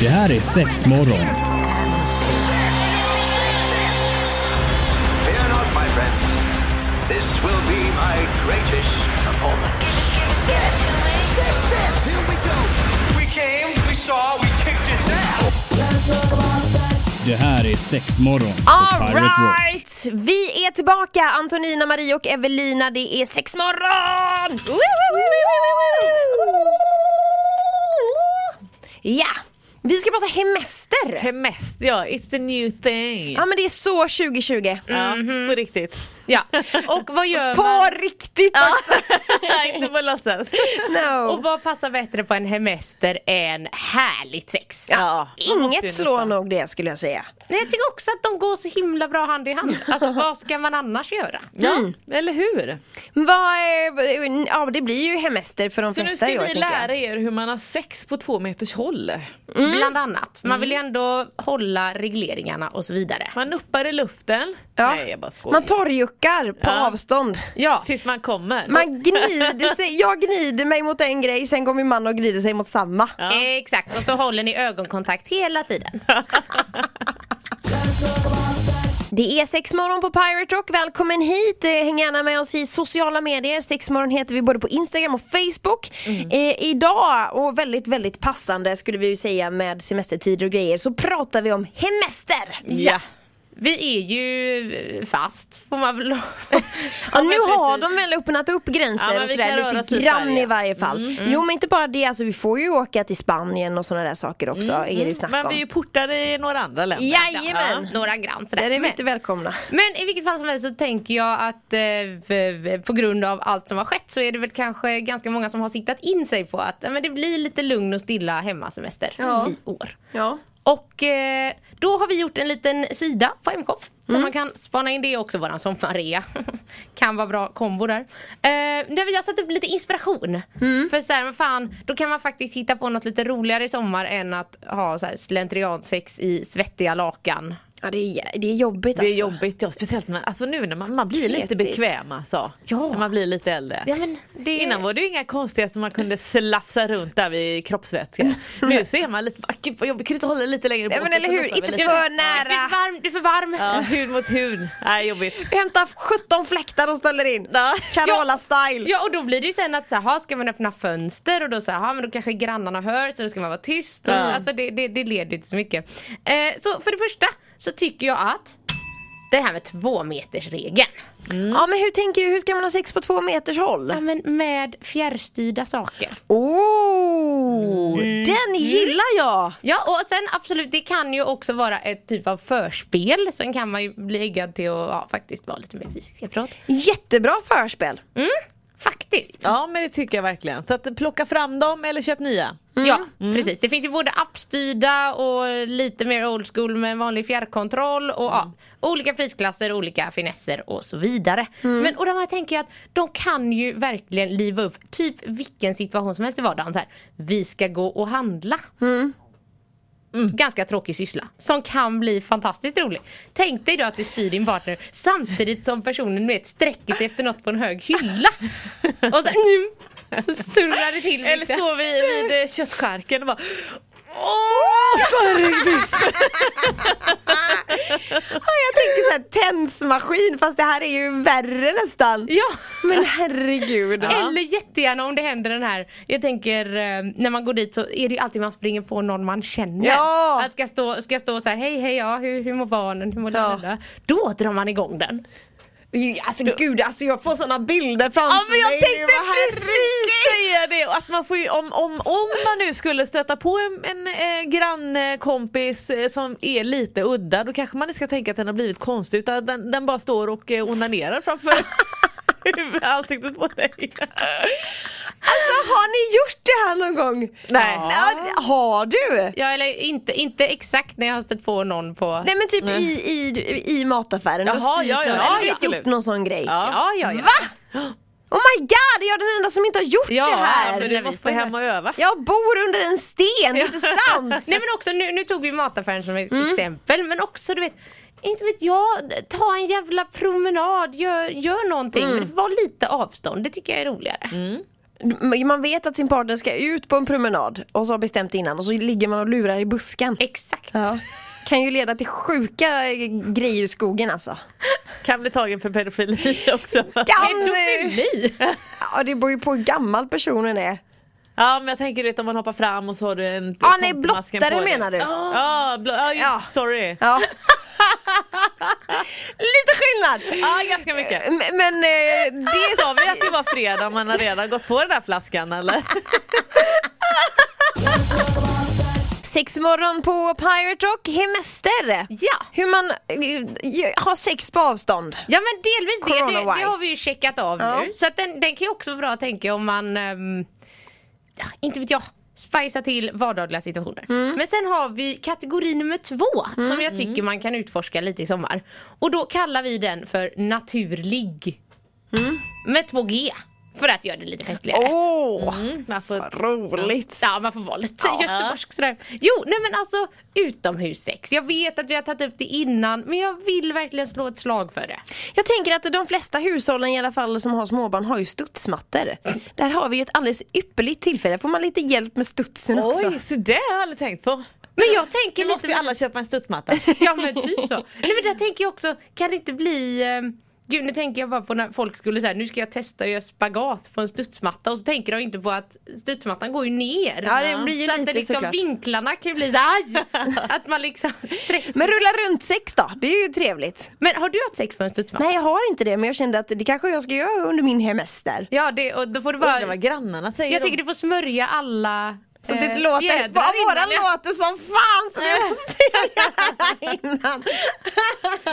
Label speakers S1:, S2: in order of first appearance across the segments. S1: Det här är sex morgon.
S2: Fear not, my friends. This will be my greatest performance.
S3: Six, six, six. Here we go.
S2: We came, we saw, we kicked its ass.
S1: Det här är sex morgon. på Pirate Rock.
S4: Alright! Vi är tillbaka, Antonina, Marie och Evelina. Det är sex morgon! Ja, vi ska prata hemester.
S5: Hemest, ja. It's the new thing.
S4: Ja men det är så 2020.
S5: Mm. Ja, på riktigt.
S6: Ja, och vad gör
S4: På
S6: man?
S4: riktigt också!
S5: Nej, inte på låtsas.
S4: No.
S6: Och vad passar bättre på en hemester än härligt sex?
S5: Ja, man måste ju
S4: Inget slår
S5: nästan-
S4: nog det skulle jag säga.
S6: Nej, jag tycker också att de går så himla bra hand i hand. Alltså vad ska man annars göra?
S5: Ja,
S4: Mm.
S5: eller hur?
S4: Vad, eh, ja det blir ju hemester för de
S5: Så nu
S4: flesta
S5: ska
S4: i år,
S5: vi
S4: tänker jag.
S5: lära er hur man har sex på två meters håll. Mm.
S6: Bland annat. Man vill ju ändå hålla regleringarna och så vidare.
S5: Man nuppar i luften.
S4: Ja.
S5: Nej, jag bara skojar.
S4: Man torrjuckar på
S5: Ja.
S4: avstånd.
S6: Ja,
S5: Tills man kommer.
S4: Man gnider sig, jag gnider mig mot en grej, sen går min man och gnider sig mot samma.
S5: Ja.
S6: exakt. Och så håller ni ögonkontakt hela tiden.
S4: Det är sexmorgon på Pirate Rock, välkommen hit! Eh, Häng gärna med oss i sociala medier, sexmorgon heter vi både på Instagram och Facebook.
S5: Mhm.
S4: Eh, idag, och väldigt väldigt passande skulle vi ju säga med semestertider och grejer, så pratar vi om hemester!
S6: Ja. Vi är ju fast får man väl
S4: Ja, nu
S5: men
S4: har
S5: precis.
S4: de väl öppnat upp gränser
S5: Ja, men
S4: och
S5: vi
S4: sådär
S5: kan röra oss
S4: lite
S5: i
S4: grann
S5: Sverige. Mm.
S4: i varje fall. Jo men inte bara det, alltså, vi får ju åka till Spanien och sådana där saker också, är det snack
S5: Mm, Men
S4: om.
S5: vi är ju portade i några andra länder.
S4: Jajamän!
S6: några grann sådär.
S4: Där är vi
S6: Men-
S4: inte välkomna.
S6: Men i vilket fall som helst så tänker jag att eh, v- v- på grund av allt som har skett så är det väl kanske ganska många som har siktat in sig på att ja, men det blir lite lugn och stilla hemmasemester
S4: Ja.
S6: i år.
S4: Ja.
S6: Och eh, då har vi gjort en liten sida på MK där man kan spana in det också, våran sommarrea. kan vara bra kombo där. Eh, där vi har satt upp lite inspiration. För så här, men fan, då kan man faktiskt hitta på något lite roligare i sommar än att ha så här slentriansex i svettiga lakan.
S4: Ja det är, det är jobbigt
S5: Det är
S4: alltså.
S5: jobbigt ja, speciellt när, alltså nu när man, man blir lite
S4: Kletigt.
S5: bekväm alltså.
S6: Ja.
S5: När man blir lite äldre.
S6: Ja, men det-
S5: Innan var det ju inga konstigheter som man kunde slafsa runt där vid kroppsvätska. nu ser man lite, bara, gud vad jobbigt, kunde inte hålla det lite längre bort.
S4: Ja men
S5: Och
S4: eller
S5: så
S4: hur,
S5: nuppar vi
S4: inte
S5: lite.
S4: för
S6: Du är för
S4: nära.
S6: varm, du är för varm.
S5: Ja, hud mot hud, nej jobbigt.
S4: Hämta 17 fläktar och ställer in. Carola style.
S6: Ja och då blir det ju sen att så här, ska man öppna fönster och då så här, men då kanske grannarna hör så då ska man vara tyst. Och,
S5: Ja.
S6: Alltså det, det, det leder ju inte så mycket. Eh, så för det första så tycker jag att det här med tvåmetersregeln.
S4: Ja men hur tänker du, hur ska man ha sex på två meters håll?
S6: Ja men med fjärrstyrda saker.
S4: Oh, den gillar jag!
S6: Ja och sen absolut det kan ju också vara ett typ av förspel. Sen kan man ju bli eggad till att ja, faktiskt vara lite mer fysisk efteråt.
S4: Jättebra förspel.
S6: Faktiskt.
S5: Ja men det tycker jag verkligen. Så att plocka fram dem eller köp nya.
S6: Ja, precis. Det finns ju både appstyrda och lite mer old school med en vanlig fjärrkontroll och ja, olika prisklasser, olika finesser och så vidare. Men och de här tänker jag att de kan ju verkligen liva upp typ vilken situation som helst i vardagen. Så här, vi ska gå och handla. Mm. Ganska tråkig syssla som kan bli fantastiskt rolig. Tänk dig då att du styr din partner samtidigt som personen du vet, sträcker sig efter något på en hög hylla. Och så, nu, så surrar det till
S5: Eller
S6: lite.
S5: står vi vid eh, köttskärken och bara
S4: Ja, jag tänker såhär tensmaskin fast det här är ju värre nästan.
S6: Ja.
S4: Men herregud.
S6: Eller jättegärna om det händer den här, jag tänker eh, när man går dit så är det ju alltid man springer på någon man känner.
S4: Ja!
S6: Att ska stå, ska stå så här, hej hej ja, hur, hur mår barnen, hur mår
S4: Ja.
S6: ja. Då drar man igång den.
S4: Alltså gud, alltså jag får såna bilder framför
S5: Ja men jag
S4: mig.
S5: tänkte
S4: Vad herregud.
S5: precis säga det! Alltså man får ju, om, om, om man nu skulle stöta på en, en eh, grannkompis eh, som är lite udda då kanske man inte ska tänka att den har blivit konstig utan att den, den bara står och eh, onanerar framför ansiktet på dig.
S4: Alltså har ni gjort det här någon gång?
S5: Nej.
S4: Ja, har du?
S6: Ja eller inte, inte exakt när jag har stött på någon på...
S4: Nej men typ i, i, i mataffären, du har
S5: Jaha,
S4: styrt
S5: ja, ja,
S4: någon, eller
S5: ja, ja,
S4: du har gjort
S5: absolut.
S4: någon sån grej.
S6: Ja ja ja.
S4: Va? Oh my god, är jag den enda som inte har gjort
S5: Ja,
S4: det här?
S5: alltså,
S6: När
S5: du
S6: vi
S5: måste
S6: står där
S5: hem och
S6: så-
S5: öva.
S4: Jag bor under en sten, inte sant?
S6: Nej men också, nu, nu tog vi mataffären som ett exempel men också du vet inte vet jag, ta en Mm. jävla promenad, gör, gör någonting. Men var lite avstånd, det tycker jag är roligare.
S4: man vet att sin partner ska ut på en promenad och så har bestämt innan och så ligger man och lurar i busken.
S6: Exakt.
S4: Ja. Kan ju leda till sjuka eh, grejer i skogen alltså.
S5: Kan bli tagen för pedofili också.
S4: Kan, eh,
S6: Pedofili!
S4: ja, det beror ju på hur gammal personen är.
S5: Ja men jag tänker du vet om man hoppar fram och så har du en
S4: Ja, ah, nej,
S5: tomtemasken på
S4: blottare
S5: dig.
S4: menar du?
S5: Ja, bl- ja,
S4: Ja.
S5: just, sorry.
S4: Ja. Lite skillnad!
S5: Ja ganska mycket.
S4: M- Men eh, det
S5: Sa vi att det var fredag man har redan gått på den där flaskan eller?
S4: Sex morgon på Pirate Rock, hemester!
S6: Ja.
S4: Hur man eh, har sex på avstånd.
S6: Ja men delvis det, det, det
S4: Corona-wise.
S6: har vi ju checkat av
S4: Ja.
S6: nu. Så att den, den kan ju också vara bra att tänka om man, ehm, ja, inte vet jag, spicea till vardagliga situationer. Men sen har vi kategori nummer två som jag tycker man kan utforska lite i sommar. Och då kallar vi den för naturlig. Med två G. För att göra det lite festligare.
S4: Åh,
S5: Man får
S4: roligt!
S6: Ja man får vara lite göteborgsk sådär. Jo nej men alltså utomhussex. Jag vet att vi har tagit upp det innan men jag vill verkligen slå ett slag för det.
S4: Jag tänker att de flesta hushållen i alla fall som har småbarn har ju studsmattor. Där har vi ju ett alldeles ypperligt tillfälle, får man lite hjälp med studsen också.
S5: Oj, så det har jag aldrig tänkt på.
S6: Men jag tänker
S5: Nu måste vi
S6: lite
S5: alla köpa en studsmatta.
S6: Ja men typ så. Nej men där tänker jag också, kan det inte bli ehm, Gud nu tänker jag bara på när folk skulle säga nu ska jag testa att göra spagat på en studsmatta och så tänker de inte på att studsmattan går ju ner.
S4: Ja, det blir ju
S6: så att
S4: lite
S6: det liksom,
S4: såklart.
S6: vinklarna kan ju bli så aj! Att man liksom sträcker.
S4: Men rulla runt sex då, det är ju trevligt.
S6: Men har du haft sex på en studsmatta?
S4: Nej jag har inte det men jag kände att det kanske jag ska göra under min hemester.
S6: Ja det, och då får du
S5: Undrar
S6: bara,
S5: vad grannarna säger.
S6: jag tänker
S5: om-
S6: du får smörja alla
S4: Så att det
S6: eh,
S4: låter,
S6: fjädrar
S4: våra
S6: innan jag-
S4: låter som fan så vi måste göra innan.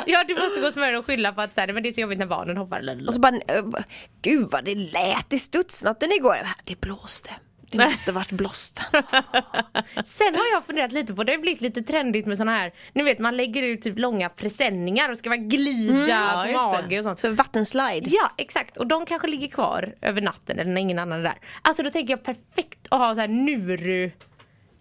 S6: Ja du måste gå och smörja och skylla på att så här, men det är så jobbigt när barnen hoppar eller
S4: Och så bara, eh, va- gud vad det lät i studsmatten igår. Det blåste. Det måste varit blåsten.
S6: Sen har jag funderat lite på, det har blivit lite trendigt med såna här, ni vet man lägger ut typ långa presenningar och ska vara glida
S5: Mm. Ja,
S6: på
S5: just
S6: mage
S5: det.
S6: och sånt.
S4: Så vattenslide.
S6: Ja exakt och de kanske ligger kvar över natten eller när ingen annan är där. Alltså då tänker jag perfekt att ha så här nuru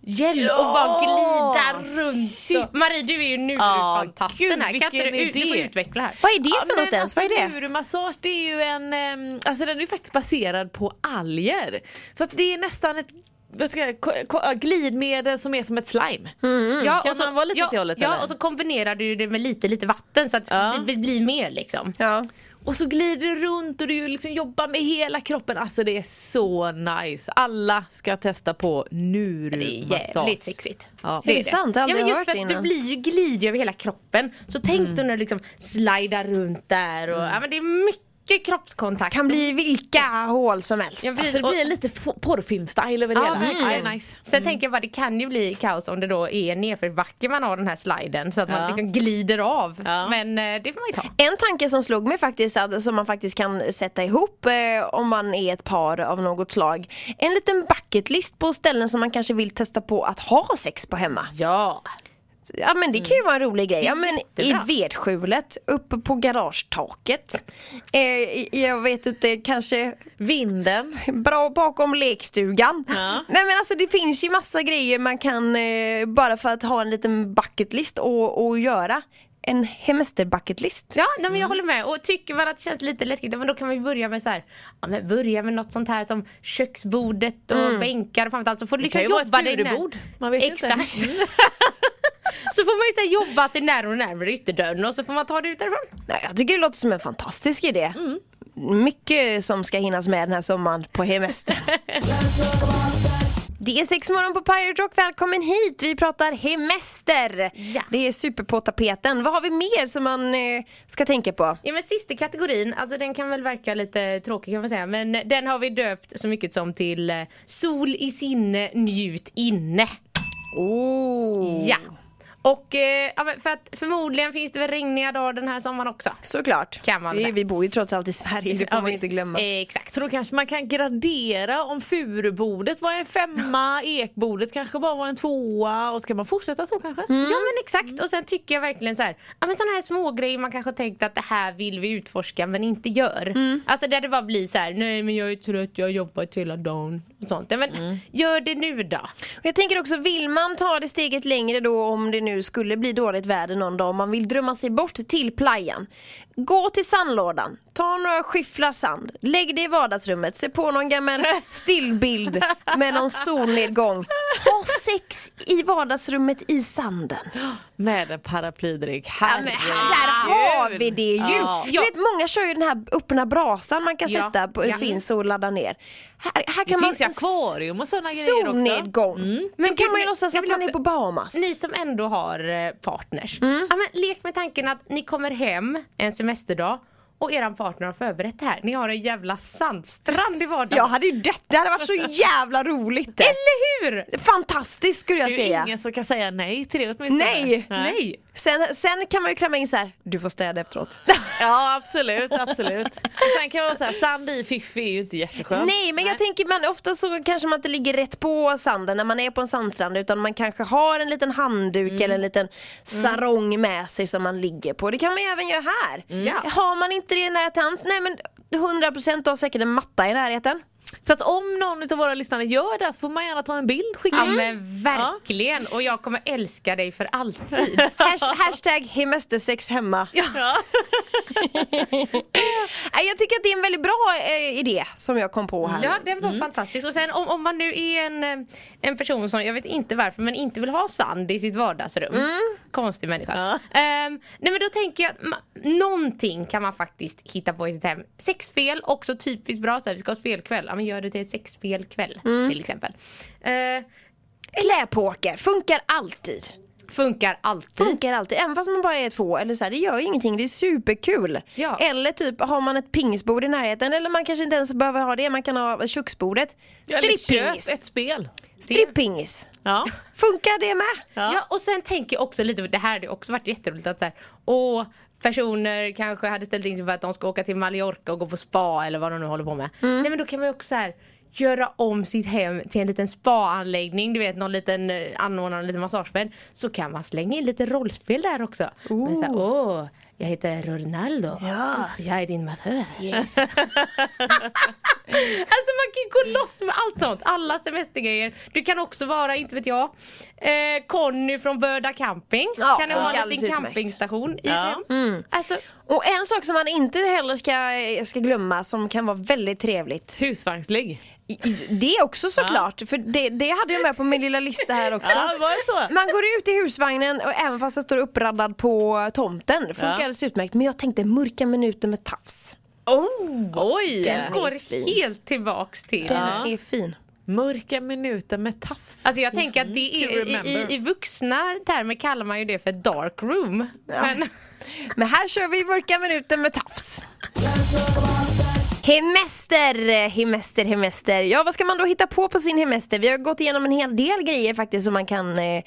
S6: Hjälp och bara glida runt. Och... Marie du är ju
S5: Ja,
S6: nuru-fantasten
S5: gud,
S6: här. Kan inte du,
S5: vilken
S6: du får
S5: idé.
S6: utveckla här.
S4: Vad är det
S5: Ja,
S4: för
S5: men
S4: något ens? Vad är det?
S5: alltså, Neuromassage det är ju en, ehm, alltså den är ju faktiskt baserad på alger. Så att det är nästan ett vad ska jag, ko- ko- glidmedel som är som ett slime.
S4: Mm.
S6: Mm. Ja,
S5: Kan man vara lite
S6: ja,
S5: åt det hållet,
S6: Ja
S5: eller?
S6: och så kombinerar du det med lite lite vatten så att
S5: Ja.
S6: det blir mer liksom.
S4: Ja.
S5: Och så glider du runt och du liksom jobbar med hela kroppen. Alltså det är så nice. Alla ska testa på
S6: Det
S5: nurumassage.
S6: är jävligt sexigt.
S5: Ja.
S4: är sant, jag har
S6: ja, men
S4: aldrig
S6: just
S4: hört
S6: för att
S4: det
S6: Du
S4: innan.
S6: blir ju glidig över hela kroppen. Så tänk
S5: Mm.
S6: dig när du liksom slidar runt där och ja, men det är mycket kroppskontakt.
S4: Kan bli alltså, vilka hål som helst.
S6: Ja, precis.
S5: Så Alltså, det blir lite f- porrfilmstyle över det
S6: Ja,
S5: hela.
S4: mm.
S6: verkligen.
S5: Ja, det är nice. Mm.
S6: Sen tänker jag bara det kan ju bli kaos om det då är nerför backe man har den här sliden så att man
S5: Ja.
S6: liksom glider av.
S5: Ja.
S6: Men eh, det får man ju ta.
S4: En tanke som slog mig faktiskt, att- som man faktiskt kan sätta ihop eh, om man är ett par av något slag. En liten bucketlist på ställen som man kanske vill testa på att ha sex på hemma.
S6: Ja.
S4: Ja men det kan ju vara en rolig grej. Ja, men I
S6: jättebra.
S4: vedskjulet, uppe på garagetaket. Eh, i- jag vet inte, kanske
S5: Vinden.
S4: bra bakom lekstugan. Nej men alltså det finns ju massa grejer man kan, eh, bara för att ha en liten bucketlist och, och göra. En hemesterbucketlist.
S6: Ja, nej, men jag håller med. Och tycker man att det känns lite läskigt, ja, men då kan vi börja med så här, ja, men börja med något sånt här som köksbordet och bänkar och framförallt så får du liksom
S5: kan ju vara ett
S6: jobba dig när-
S5: furubord. Man vet ju inte.
S6: Exakt. så får man ju så här, jobba sig närmare och närmare ytterdörren och så får man ta det ut därifrån.
S4: Nej, jag tycker det låter som en fantastisk idé. Mycket som ska hinnas med den här sommaren på hemester. Det är sex morgon på Pirate Rock, välkommen hit! Vi pratar hemester!
S6: Ja.
S4: Det är super på tapeten. Vad har vi mer som man eh, ska tänka på?
S6: Ja men sista kategorin, alltså den kan väl verka lite tråkig kan man säga men den har vi döpt så mycket som till eh, sol i sinne, njut inne.
S4: Oh.
S6: Ja. Och eh, ja, men för att förmodligen finns det väl regniga dagar den här sommaren också.
S4: Såklart.
S6: Kan man
S4: vi,
S6: det.
S4: vi bor ju trots allt i Sverige, det får
S6: Ja,
S4: man
S6: men-
S4: inte glömma.
S6: Eh, exakt.
S5: Så då kanske man kan gradera om furubordet var en femma, ekbordet kanske bara var en tvåa och ska man fortsätta så kanske?
S4: Mm.
S6: Ja men exakt och sen tycker jag verkligen så här, ja men sådana här små grejer man kanske har tänkt att det här vill vi utforska men inte gör.
S4: Mm.
S6: Alltså där det bara blir så här, nej men jag är trött, jag har jobbat hela dagen
S4: Mm.
S6: och sånt. Ja, Men gör det nu då.
S4: Och Jag tänker också, vill man ta det steget längre då om det nu nu skulle bli dåligt väder någon dag och man vill drömma sig bort till playan. Gå till sandlådan, ta några skyfflar sand, lägg dig i vardagsrummet, se på någon gammal stillbild med någon solnedgång. Ha sex i vardagsrummet i sanden.
S5: Med en paraplydrink.
S4: Ja, men här, där har vi det ju!
S5: Ja.
S4: Du vet, många kör ju den här öppna brasan man kan
S6: Ja.
S4: sätta på,
S6: Ja.
S4: finns och ladda ner. Här, här
S5: Det
S4: kan man
S5: finns ju akvarium och sådana grejer också. Mm.
S4: Solnedgång!
S6: Men
S4: Då kan
S6: gud,
S4: man ju
S6: men-
S4: låtsas
S6: jag
S4: att
S6: vill
S4: man är
S6: också-
S4: på Bahamas. Mm.
S6: Ni som ändå har eh, partners. Ja, men lek med tanken att ni kommer hem en semesterdag och eran partner har förberett det här. Ni har en jävla sandstrand i vardagen.
S4: Jag hade ju detta, det hade varit så jävla roligt! det.
S6: Eller hur?
S4: Fantastiskt skulle jag
S5: Det är ju
S4: säga!
S5: ingen som kan säga nej till det åtminstone.
S4: Nej!
S6: Nej.
S4: Sen, sen kan man ju klämma in så här. du får städa efteråt.
S5: Ja absolut, absolut. Sen kan jag vara såhär, sand i fiffi är ju inte jätteskönt.
S4: Nej men jag tänker man, ofta så kanske man inte ligger rätt på sanden när man är på en sandstrand utan man kanske har en liten handduk eller en liten sarong med sig som man ligger på. Det kan man ju även göra här.
S6: Ja.
S4: Har man inte det i närheten, hands, nej men 100% har säkert en matta i närheten.
S5: Så att om någon av våra lyssnare gör det så får man gärna ta en bild skicka
S6: Ja
S5: in.
S6: men verkligen och jag kommer älska dig för alltid.
S4: Hash, hashtag hemestersex hemma.
S5: Ja.
S4: Nej, Jag tycker att det är en väldigt bra eh, idé som jag kom på här.
S6: Ja det var
S5: Mm.
S6: fantastiskt och sen om, om man nu är en, eh, en person som, jag vet inte varför men inte vill ha sand i sitt vardagsrum. Konstig människa.
S5: Mm. Ja.
S6: Ehm, nej men då tänker jag att ma- någonting kan man faktiskt hitta på i sitt hem. Sexspel också typiskt bra så här, vi ska ha spelkväll. Ja men gör det till ett sexspelkväll
S5: Mm.
S6: till exempel. Eh,
S4: Kläpoker funkar alltid.
S6: funkar alltid.
S4: Funkar alltid, även fast man bara är två eller så här, det gör ju ingenting, det är superkul.
S6: Ja.
S4: Eller typ har man ett pingisbord i närheten eller man kanske inte ens behöver ha det, man kan ha köksbordet.
S5: Eller köp
S4: Strippingis!
S5: ett spel.
S4: Strippingis!
S5: Ja.
S4: Funkar det med?
S5: Ja.
S6: Ja. och sen tänker jag också lite, det här hade ju också varit jätteroligt att så här, åh, personer kanske hade ställt in sig för att de ska åka till Mallorca och gå på spa eller vad de nu håller på med. Nej men då kan man ju också så här göra om sitt hem till en liten spaanläggning, du vet någon liten eh, anordna en liten massagebädd. Så kan man slänga in lite rollspel där också. Men så här, åh, jag heter Ronaldo.
S4: Ja.
S6: Jag är din massör. Alltså man kan ju gå loss med allt sånt, alla semestergrejer. Du kan också vara, inte vet jag, eh, Conny från Böda camping.
S4: Ja,
S6: kan du ha
S4: funkar
S6: en
S4: alldeles
S6: liten
S4: utmärkt.
S6: campingstation i
S5: Ja.
S6: det?
S4: Mm.
S6: Alltså,
S4: Och en sak som man inte heller ska, ska glömma som kan vara väldigt trevligt.
S5: Husvagnsligg.
S4: I- i- Det också såklart, för det, det hade jag med på min lilla lista här också.
S5: Ja, var det så?
S4: Man går ut i husvagnen och även fast det står uppraddad på tomten, funkar
S5: Ja.
S4: alldeles utmärkt. Men jag tänkte mörka minuter med tafs.
S5: Oh, Oj!
S4: Den-
S6: går
S4: är fin.
S6: helt tillbaks till.
S4: Den är fin.
S5: Mörka minuter med tafs.
S6: Alltså jag tänker att det
S5: Mm. to
S6: är, i, i,
S5: remember.
S6: i vuxna termer kallar man ju det för dark room. Men,
S4: Men här kör vi mörka minuter med tafs. Hemester, hemester, hemester. Ja, vad ska man då hitta på på sin hemester? Vi har gått igenom en hel del grejer faktiskt som man kan eh, eh,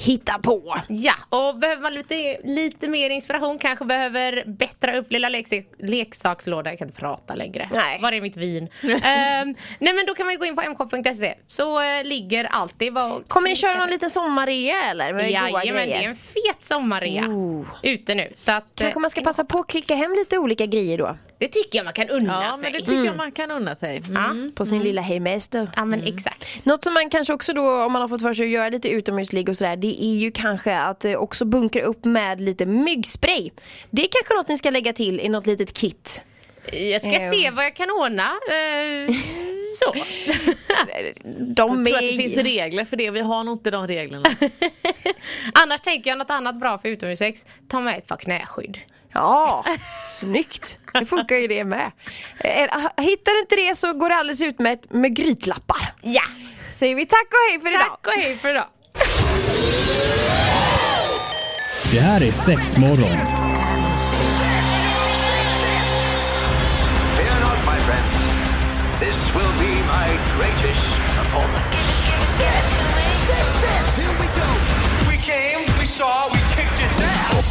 S4: hitta på.
S6: ja, och behöver man lite, lite mer inspiration kanske behöver bättra upp lilla lekse- leksakslådan. Jag kan inte prata längre.
S4: Nej.
S6: Var är mitt vin? Ehm, nej men då kan man ju gå in på mshop.se så eh, ligger allt. Det var
S4: Kommer ni köra någon liten sommarrea eller? Med goa
S6: Jajamän, det är
S4: grejer?
S6: en fet sommarrea ute nu. Så att,
S4: Kanske
S6: eh,
S4: man ska passa på att klicka hem lite olika grejer då.
S6: det tycker jag man kan unna
S5: ja,
S6: sig.
S5: men det tycker jag man kan unna sig. Mm.
S6: ja.
S4: På sin lilla hemester.
S6: ja men exakt.
S4: Något som man kanske också då, om man har fått för sig att göra lite utomhusligg och sådär, det är ju kanske att eh, också bunkra upp med lite myggspray. Det är kanske något ni ska lägga till i något litet kit.
S6: Jag ska
S4: Eh.
S6: se vad jag kan ordna. Eh, så.
S4: De
S5: Jag tror att det finns
S4: är...
S5: regler för det, vi har nog inte de reglerna.
S6: Annars tänker jag något annat bra för utomhussex. Ta med ett par knäskydd.
S4: Ja, snyggt! Det funkar ju det med. Eh, Hittar du inte det så går det alldeles utmärkt med grytlappar.
S6: Ja!
S4: Säger vi tack och hej för idag!
S6: Tack och hej för idag.
S1: Det här är sex morgon.
S2: Fear not, my friends. This will be my greatest performance.
S3: Six, six, six. Here we go.
S2: We came, we saw, we kicked its ass.